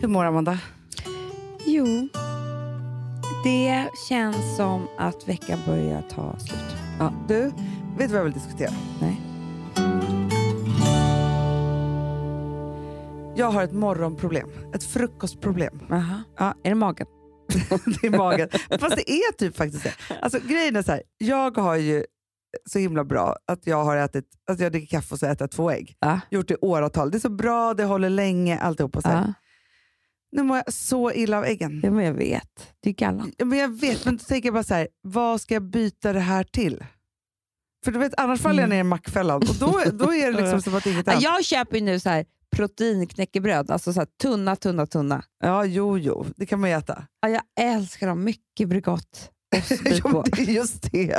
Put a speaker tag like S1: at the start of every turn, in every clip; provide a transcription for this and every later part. S1: du mår, Amanda?
S2: Jo, det känns som att veckan börjar ta slut.
S1: Ja. Du, vet du vad jag vill diskutera?
S2: Nej.
S1: Jag har ett morgonproblem. Ett frukostproblem.
S2: Aha. Ja, är det magen?
S1: i magen. Fast det är typ faktiskt det. Alltså, grejen är så här, jag har ju så himla bra att jag har ätit, alltså jag dricker kaffe och så äter jag två ägg.
S2: Ja.
S1: Gjort det i åratal. Det är så bra, det håller länge, alltihopa. Så här.
S2: Ja.
S1: Nu mår jag så illa av äggen.
S2: ja, men jag vet. Det är gallan.
S1: Ja, Men jag vet, men då tänker jag bara så här, vad ska jag byta det här till? För du vet, annars faller jag ner i mackfällan och då, då är det liksom som att inget
S2: Ja,
S1: hänt.
S2: jag köper ju nu så här proteinknäckebröd, alltså så här tunna, tunna, tunna.
S1: Ja, jo, jo, det kan man ju äta.
S2: Ja, jag älskar dem. Mycket Bregott.
S1: Ja,
S2: Ostbit
S1: men
S2: på.
S1: det är just det,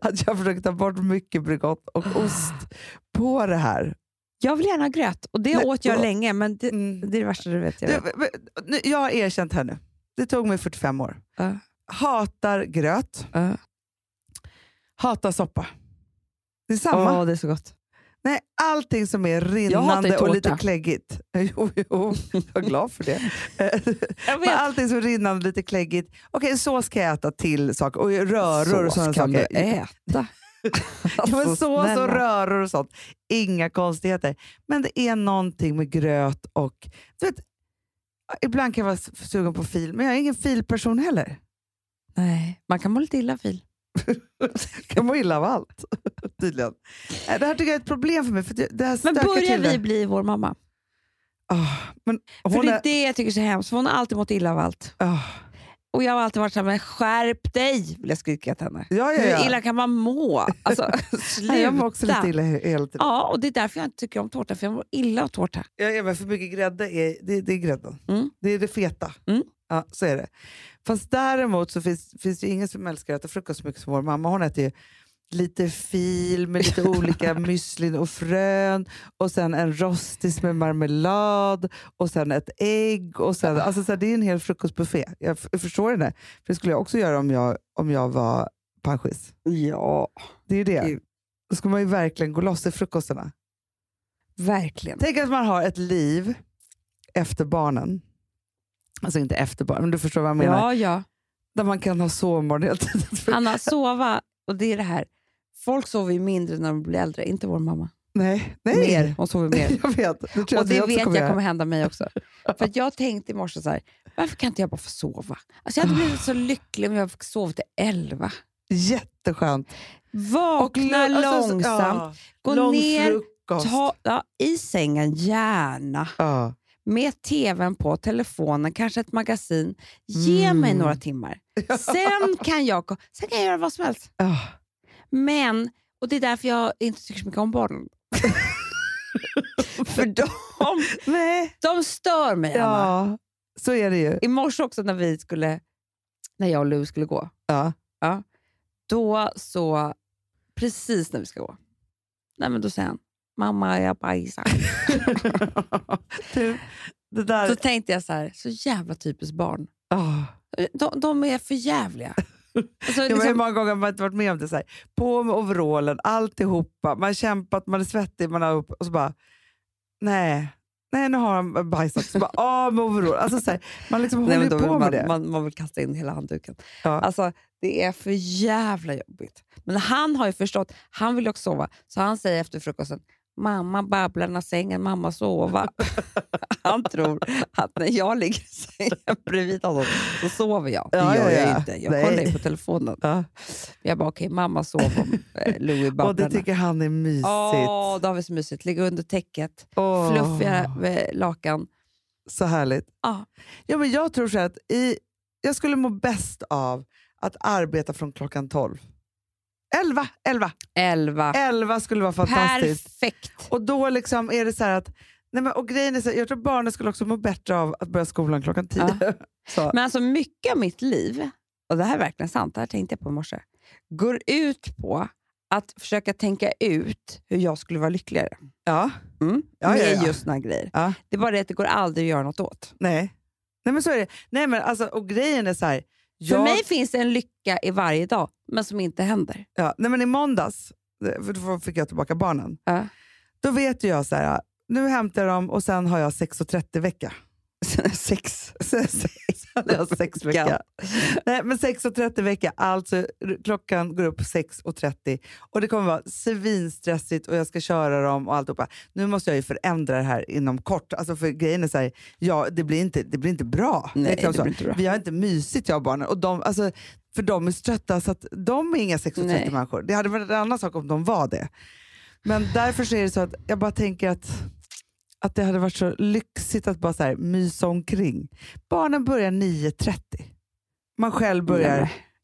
S1: att jag försöker ta bort mycket Bregott och ost på det här.
S2: Jag vill gärna ha gröt och det
S1: Nej,
S2: åt jag
S1: då-
S2: länge, men det,
S1: Mm.
S2: det är det värsta du vet. Jag vet.
S1: Du, men- nu- jag har erkänt här nu. Det tog mig 45 år.
S2: Ja.
S1: Hatar gröt.
S2: Ja.
S1: Hatar soppa. Det är samma.
S2: Åh, det är så gott.
S1: Nej, allting som är
S2: hatar ju
S1: rinnande och
S2: tårta.
S1: lite kläggigt. Jo, jo, jag är glad för det.
S2: Jag
S1: Men
S2: vet.
S1: allting som är rinnande och lite kläggigt. Okej, sås kan jag äta till saker. Och röror och
S2: Sås
S1: sådana
S2: kan
S1: saker.
S2: du äta. Alltså,
S1: Ja, men sås och
S2: snälla.
S1: röror och sånt. Inga konstigheter. Men det är någonting med gröt och... Du vet, ibland kan jag vara s- sugen på fil, men jag är ingen filperson heller.
S2: Nej, man kan må lite illa fil.
S1: Jag mår illa av allt, tydligen. Nej, Det här tycker jag är ett problem för mig. För det det här
S2: Men
S1: stökar
S2: börjar
S1: till det.
S2: vi bli vår mamma?
S1: Ah, men
S2: För
S1: hon
S2: det
S1: är...
S2: är det jag tycker är så hemskt, för hon har alltid mått illa av allt.
S1: Ah,
S2: Och jag har alltid varit såhär, men skärp dig, vill jag skrika till henne.
S1: ja, ja,
S2: Hur
S1: ja.
S2: illa kan man må? Alltså, sluta.
S1: Nej, jag mår också lite illa he- hela tiden.
S2: Ja, och det är därför jag inte tycker om tårta, för jag mår illa av tårta.
S1: Ja, ja, men för mycket grädde är, det, det är grädden.
S2: Mm.
S1: Det är det feta.
S2: Mm.
S1: Ja, så är det. Fast däremot så finns, finns det ju ingen som älskar att äta frukost så mycket som vår mamma. Hon äter ju lite fil med lite olika müslin och frön och sen en rostis med marmelad och sen ett ägg. Och sen, alltså så här, det är en hel frukostbuffé. Jag, f- jag förstår det. För det skulle jag också göra om jag, om jag var pensionist.
S2: Ja,
S1: Det är ju det.
S2: Gud.
S1: Då ska man ju verkligen gå loss i frukosterna.
S2: verkligen.
S1: Tänk att man har ett liv efter barnen. Alltså inte efter barnen, men du förstår vad jag menar.
S2: Ja, ja.
S1: Där man kan ha sovmorgon hela tiden. För-
S2: Anna, sova, och det är det här. Folk sover ju mindre när de blir äldre, inte vår mamma.
S1: Nej, nej.
S2: Mer, hon sover mer.
S1: Jag vet. Det tror jag
S2: Och
S1: att
S2: det
S1: jag också
S2: vet
S1: kommer
S2: jag
S1: göra.
S2: kommer hända mig också. För att jag tänkte i morse så här, varför kan inte jag bara få sova? Alltså jag hade blivit så lycklig om jag fick sova till elva.
S1: Jätteskönt.
S2: Vakna
S1: lu- alltså, så-
S2: långsamt,
S1: ja,
S2: gå
S1: lång
S2: ner,
S1: frukost.
S2: ta, ja, i sängen gärna,
S1: Ja.
S2: med tvn på, telefonen, kanske ett magasin. Ge
S1: Mm.
S2: mig några timmar. Sen kan, jag, ko- sen kan jag göra vad som helst.
S1: Ja.
S2: Men, och det är därför jag inte tycker så mycket om barn. För de,
S1: Nej.
S2: de stör mig, Anna.
S1: Ja, så är det ju.
S2: I morse också när vi skulle, när jag och Lou skulle gå,
S1: Ja.
S2: då så, precis när vi ska gå, nej men då säger han, mamma jag bajsar.
S1: du, det där...
S2: så tänkte jag så här, så jävla typiskt barn.
S1: Ja.
S2: De, de är för jävliga. Alltså,
S1: Ja, men hur
S2: liksom,
S1: många gånger har man inte varit med om det? Så här. På med overallen, alltihopa. Man har kämpat, man är svettig man har upp, och så bara, nej. Nej, nu har han bajsat. Så bara, av med overallen. Alltså, så här, man liksom
S2: nej,
S1: håller
S2: men
S1: ju
S2: då
S1: på med
S2: vill man,
S1: det.
S2: man, man vill kasta in hela handduken.
S1: Ja.
S2: Alltså, det är för jävla jobbigt. Men han har ju förstått, han vill också sova, så han säger efter frukosten, Mamma babblar när sängen, mamma sova. Han tror att när jag ligger i sängen bredvid honom så sover jag. Det
S1: Ja, ja,
S2: gör jag
S1: ja.
S2: inte. Jag
S1: Nej.
S2: kollar ju på telefonen.
S1: ja.
S2: Jag bara, okej, mamma sover om eh, Louie
S1: Och det
S2: babblar.
S1: tycker han är mysigt.
S2: Åh, då har vi så mysigt. Ligga under täcket,
S1: Åh,
S2: fluffiga eh, lakan.
S1: Så härligt.
S2: Ja.
S1: Ja, men jag tror så här att i, jag skulle må bäst av att arbeta från klockan 12. 11, 11,
S2: Elva.
S1: 11 skulle vara fantastiskt.
S2: Perfekt.
S1: Och då liksom är det så här att, nej men, och grejen är så här, jag tror barnen skulle också må bättre av att börja skolan klockan tio. Så.
S2: Men alltså mycket av mitt liv, och det här är verkligen sant, det här tänkte jag på i morse, går ut på att försöka tänka ut hur jag skulle vara lyckligare.
S1: Ja,
S2: Mm.
S1: Ja,
S2: med
S1: ja, ja.
S2: just såna här grejer.
S1: Ja.
S2: Det är bara det att det går aldrig att göra något åt.
S1: nej. Nej men så är det. Nej, men alltså, och grejen är så här, jag,
S2: För mig finns det en lycka i varje dag, men som inte händer.
S1: ja, nej men i måndags, eh, för då fick jag tillbaka barnen,
S2: Ja.
S1: då vet ju jag så här, nu hämtar jag dem och sen har jag 6.30 vecka.
S2: Sex.
S1: Ja, sex vecka. Nej, men 6.30 vecka, alltså r- klockan går upp 6.30 och det kommer vara svinstressigt och jag ska köra dem och alltihopa. Nu måste jag ju förändra det här inom kort, alltså för grejen är så här, ja det blir inte, det blir inte bra.
S2: Nej,
S1: liksom
S2: det
S1: så.
S2: blir inte bra.
S1: Vi har inte mysigt jag och barnen, och de, alltså, för de är så trötta så att de är inga 6.30
S2: Nej.
S1: människor. Det hade varit en annan sak om de var det. Men därför så är det så att jag bara tänker att att det hade varit så lyxigt att bara så här mysa omkring. Barnen börjar 9.30. Man själv börjar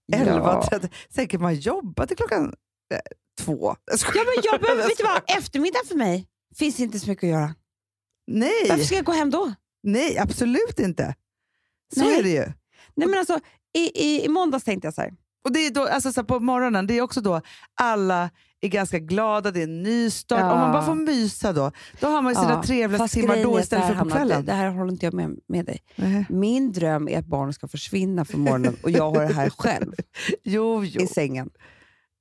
S2: Nej, men-
S1: 11.30.
S2: Ja.
S1: Sen kan man jobba till klockan eh, två. Jag skojar.
S2: Ja, men jag behöver, vet du vad? Eftermiddag för mig finns inte så mycket att göra. Varför
S1: Nej,
S2: ska jag gå hem då?
S1: nej, absolut inte. Så
S2: Nej.
S1: är det ju.
S2: Nej, men alltså, i, i, I måndags tänkte jag så här.
S1: Och det är då, alltså så här på morgonen, det är också då alla är ganska glada, det är en ny start.
S2: Ja.
S1: Om man bara får mysa då, då har man ju sina
S2: Ja,
S1: trevligaste
S2: fast
S1: timmar
S2: grejen är
S1: då
S2: så
S1: istället
S2: här,
S1: för på
S2: Hanna,
S1: kvällen.
S2: Det, det här håller inte jag med, med dig.
S1: Nej.
S2: Min dröm är att barnen ska försvinna från morgonen och jag har det här själv
S1: Jo, jo.
S2: i sängen.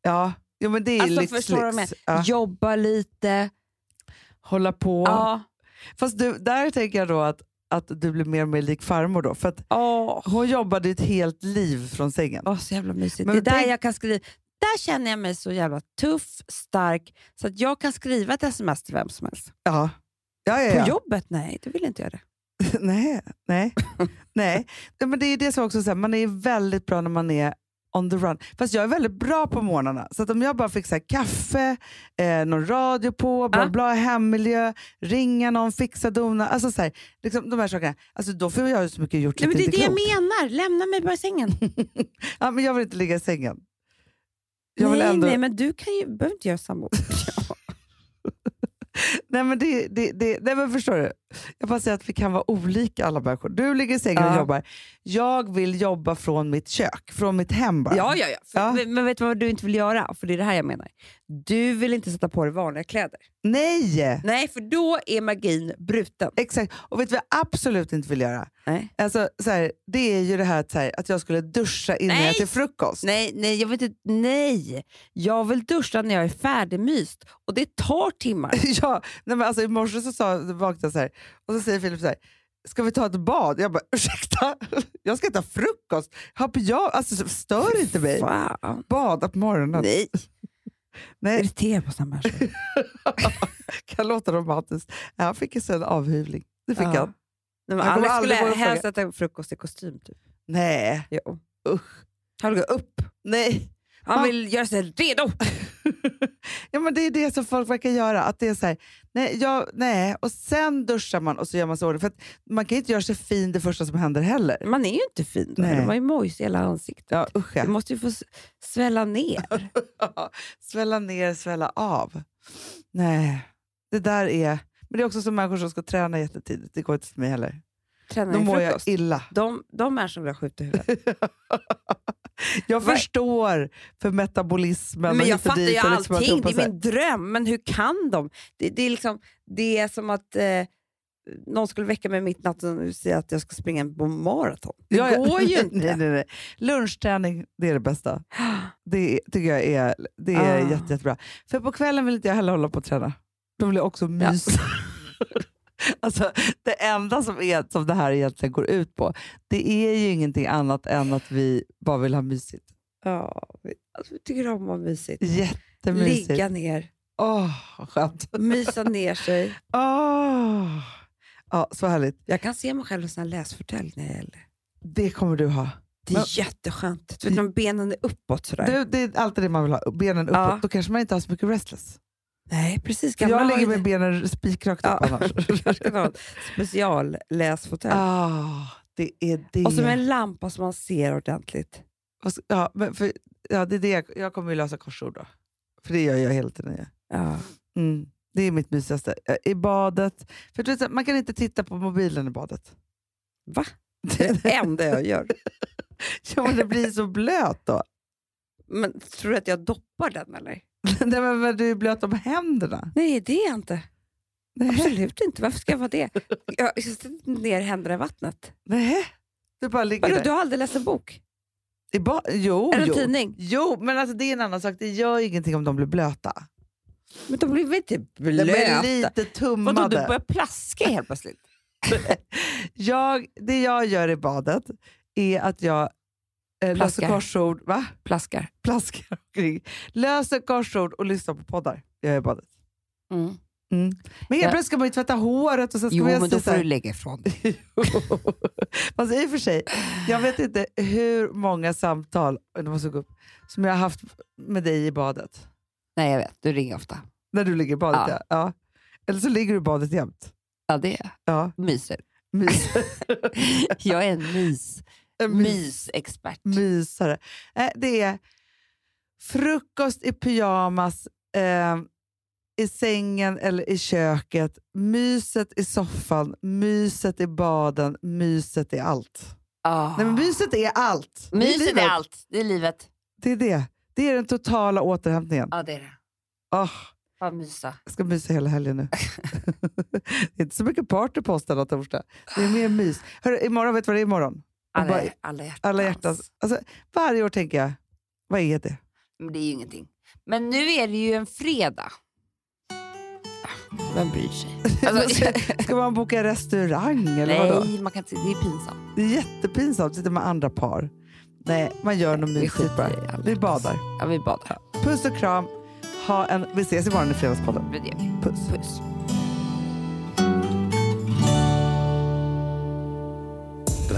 S1: Ja. jo, men det är
S2: Alltså,
S1: lyx,
S2: förstår du vad jag
S1: lyx. Ja.
S2: Jobba lite.
S1: Hålla på.
S2: Ja.
S1: Fast du, där tänker jag då att, att du blir mer och mer lik farmor då. För att
S2: Åh,
S1: hon jobbade ett helt liv från sängen.
S2: åh, så jävla mysigt.
S1: Men
S2: det är där
S1: tänk-
S2: jag kan skriva. Där känner jag mig så jävla tuff, stark, så att jag kan skriva ett sms till vem som helst.
S1: Ja. Ja, ja,
S2: På
S1: ja.
S2: jobbet? Nej, du vill inte göra det.
S1: nej, nej. nej. Nej, Men det är ju det som också, så här, man är väldigt bra när man är on the run. Fast jag är väldigt bra på morgnarna. Så att om jag bara fick så här, kaffe, eh, någon radio på, bla
S2: Ja.
S1: bla, hemmiljö, ringa någon, fixa dona. Alltså så här, liksom, de här sakerna. Alltså, då får jag ju så mycket gjort så
S2: Nej, men
S1: att
S2: det är det
S1: inte
S2: jag
S1: klokt.
S2: menar. Lämna mig bara i sängen.
S1: ja, men jag vill inte ligga i sängen. Jag vill
S2: nej,
S1: ändå...
S2: nej, men du kan ju, behöver inte göra samma.
S1: Nej men, det, det, det, nej men förstår du? Jag bara säger att vi kan vara olika alla människor. Du ligger i sängen och
S2: Ja.
S1: jobbar. Jag vill jobba från mitt kök, från mitt hem bara.
S2: ja, ja. För,
S1: Ja.
S2: Men men vet du vad du inte vill göra? För det är det här jag menar. Du vill inte sätta på dig vanliga kläder.
S1: Nej!
S2: Nej, för då är magin bruten.
S1: Exakt. Och vet du vad jag absolut inte vill göra?
S2: Nej,
S1: Alltså, så här, det är ju det här, att så här att jag skulle duscha innan
S2: Nej!
S1: jag äter frukost.
S2: nej, nej, jag vet inte. Nej, jag vill duscha när jag är färdigmyst och det tar timmar.
S1: ja, nej men alltså, I morse så sa, vaknade jag så här och så säger Filip så här, ska vi ta ett bad? Jag bara ursäkta, jag ska äta frukost. Har pyjam- alltså, stör inte mig.
S2: Fan.
S1: Bada på morgonen.
S2: Nej,
S1: Nej.
S2: irriterar på sådana människor.
S1: kan låta romantiskt. Han fick ju sen avhyvling. Det fick
S2: Ja.
S1: han.
S2: Nej, men
S1: Jag kommer
S2: Alex skulle
S1: aldrig våga fråga.
S2: helst äta frukost i kostym. Typ.
S1: Nej.
S2: Jo.
S1: Usch.
S2: Han vill gå upp.
S1: Nej.
S2: Han
S1: Man-
S2: vill göra sig redo.
S1: ja, men det är det som folk verkar göra. Att det är så här, nej, jag, nej. Och sen duschar man och så gör man sig i ordning. För att man kan ju inte göra sig fin det första som händer heller.
S2: Man är ju inte fin då.
S1: Nej.
S2: Man är ju mojs i hela ansiktet.
S1: Ja, usch
S2: Du
S1: ja.
S2: måste ju få s- svälla ner.
S1: Svälla ner, svälla av. Nej, det där är... Men det är också som människor som ska träna jättetidigt. Det går inte för mig heller.
S2: Träna
S1: Då
S2: i
S1: mår jag
S2: frukost.
S1: illa.
S2: De, de är som vill skjuta i huvudet.
S1: Jag
S2: Vad-
S1: förstår för metabolismen. och
S2: Men jag
S1: hit och
S2: fattar ju
S1: dit och liksom att
S2: allting.
S1: ropa
S2: Det
S1: så här-
S2: är min dröm. Men hur kan de? Det, det, är, liksom, det är som att eh, någon skulle väcka mig mitt i natten och säga att jag ska springa på maraton. Det
S1: Ja, ja.
S2: går ju
S1: nej,
S2: inte.
S1: nej, nej. Lunchträning, det är det bästa. Det är- tycker jag är, det är
S2: Ah.
S1: jätte, jättebra. För på kvällen vill inte jag heller hålla på och träna. Då vill jag också mysa. alltså, det enda som, är, som det här egentligen går ut på, det är ju ingenting annat än att vi bara vill ha mysigt.
S2: Ja, vi- alltså, vi tycker om att vara mysigt.
S1: Jättemysigt.
S2: Ligga ner,
S1: Åh, skönt.
S2: mysa ner sig.
S1: Åh. Ja, så härligt.
S2: Jag kan se mig själv i en sån här läsfåtölj när jag är äldre.
S1: Det kommer du ha.
S2: Det är
S1: Men-
S2: jätteskönt. Du vet, när benen är uppåt sådär.
S1: Du, det är alltid det man vill ha. Benen uppåt.
S2: Ja.
S1: Då kanske man inte har så mycket restless.
S2: Nej, precis.
S1: För
S2: Gamla
S1: jag
S2: har ju
S1: ligger
S2: det.
S1: med benen spikrakt upp
S2: Ja.
S1: annars.
S2: Jag ska ha en specialläsfåtölj.
S1: Ah, det är det.
S2: Och så med en lampa som man ser ordentligt.
S1: Och så- ja, men för, ja, det är det jag, jag kommer ju lösa korsord då. För det gör jag hela tiden. ju.
S2: Ja.
S1: Mm. Det är mitt mysigaste. Eh, I badet. För du vet, så här, man kan inte titta på mobilen i badet.
S2: Va? Det är det enda jag gör.
S1: ja, men det blir så blöt då.
S2: Men tror du att jag doppar den eller?
S1: Nej, men, men du är blöt om händerna.
S2: Nej, det är jag inte.
S1: Nej.
S2: Absolut inte. Varför ska jag vara det? Jag jag sätter ner händerna i vattnet.
S1: Nej. Du bara ligger
S2: Vadå,
S1: där.
S2: du har aldrig läst en bok?
S1: I ba- jo,
S2: eller en
S1: jo.
S2: tidning?
S1: Jo, men alltså, det är en annan sak. Det gör ingenting om de blir blöta.
S2: Men de blir väl inte
S1: De är
S2: blöta?
S1: lite
S2: Vadå, du
S1: tummade.
S2: börjar plaska helt plötsligt?
S1: jag, det jag gör i badet är att jag eh, löser
S2: Plaskar.
S1: korsord, va?
S2: Plaskar.
S1: plaskar omkring, löser korsord och lyssnar på poddar. Jag gör i badet. Mm. Men helt
S2: Ja.
S1: plötsligt ska man ju tvätta håret och sen ska
S2: Jo,
S1: man göra
S2: men då
S1: så
S2: får
S1: här-
S2: du lägga ifrån dig.
S1: Fast i och för sig, jag vet inte hur många samtal det måste gå upp, som jag har haft med dig i badet.
S2: Nej, jag vet. Du ringer ofta.
S1: När du ligger i badet. Ja.
S2: Ja.
S1: Ja. Eller så ligger du i badet jämt.
S2: Ja, det är
S1: Ja.
S2: jag. Myser.
S1: Mys.
S2: Jag är en mys,
S1: En mys-
S2: mysexpert.
S1: Mysare. Nej, det är frukost i pyjamas, eh, i sängen eller i köket, myset i soffan, myset i baden, myset i allt.
S2: Ah.
S1: Nej, men myset är allt. Det är
S2: Myset
S1: livet.
S2: är allt. Det är livet.
S1: Det är det. Det är den totala återhämtningen.
S2: Ja, det är det.
S1: Åh,
S2: Fan, mysa.
S1: jag ska mysa hela helgen nu. det är inte så mycket party på oss denna torsdag. Det är mer mys. Hörru, imorgon, vet du vad det är imorgon?
S2: Alla,
S1: bara-
S2: alla hjärtans.
S1: Alla hjärtans. Alltså, varje år tänker jag, vad är det?
S2: Men det är ju ingenting. Men nu är det ju en fredag. Vem bryr sig? Alltså,
S1: Ska man boka restaurang eller vadå?
S2: nej, man kan inte, det är pinsamt.
S1: Det är jättepinsamt. Sitter med andra par. Nej, man gör något
S2: Vi
S1: mysigt bara.
S2: skiter i alla
S1: Vi
S2: hjärtans.
S1: badar.
S2: Ja, vi badar.
S1: Puss och kram. Ha en... Vi ses imorgon i Fredagspodden.
S2: Men det gör vi.
S1: Puss.
S2: Puss.
S3: Den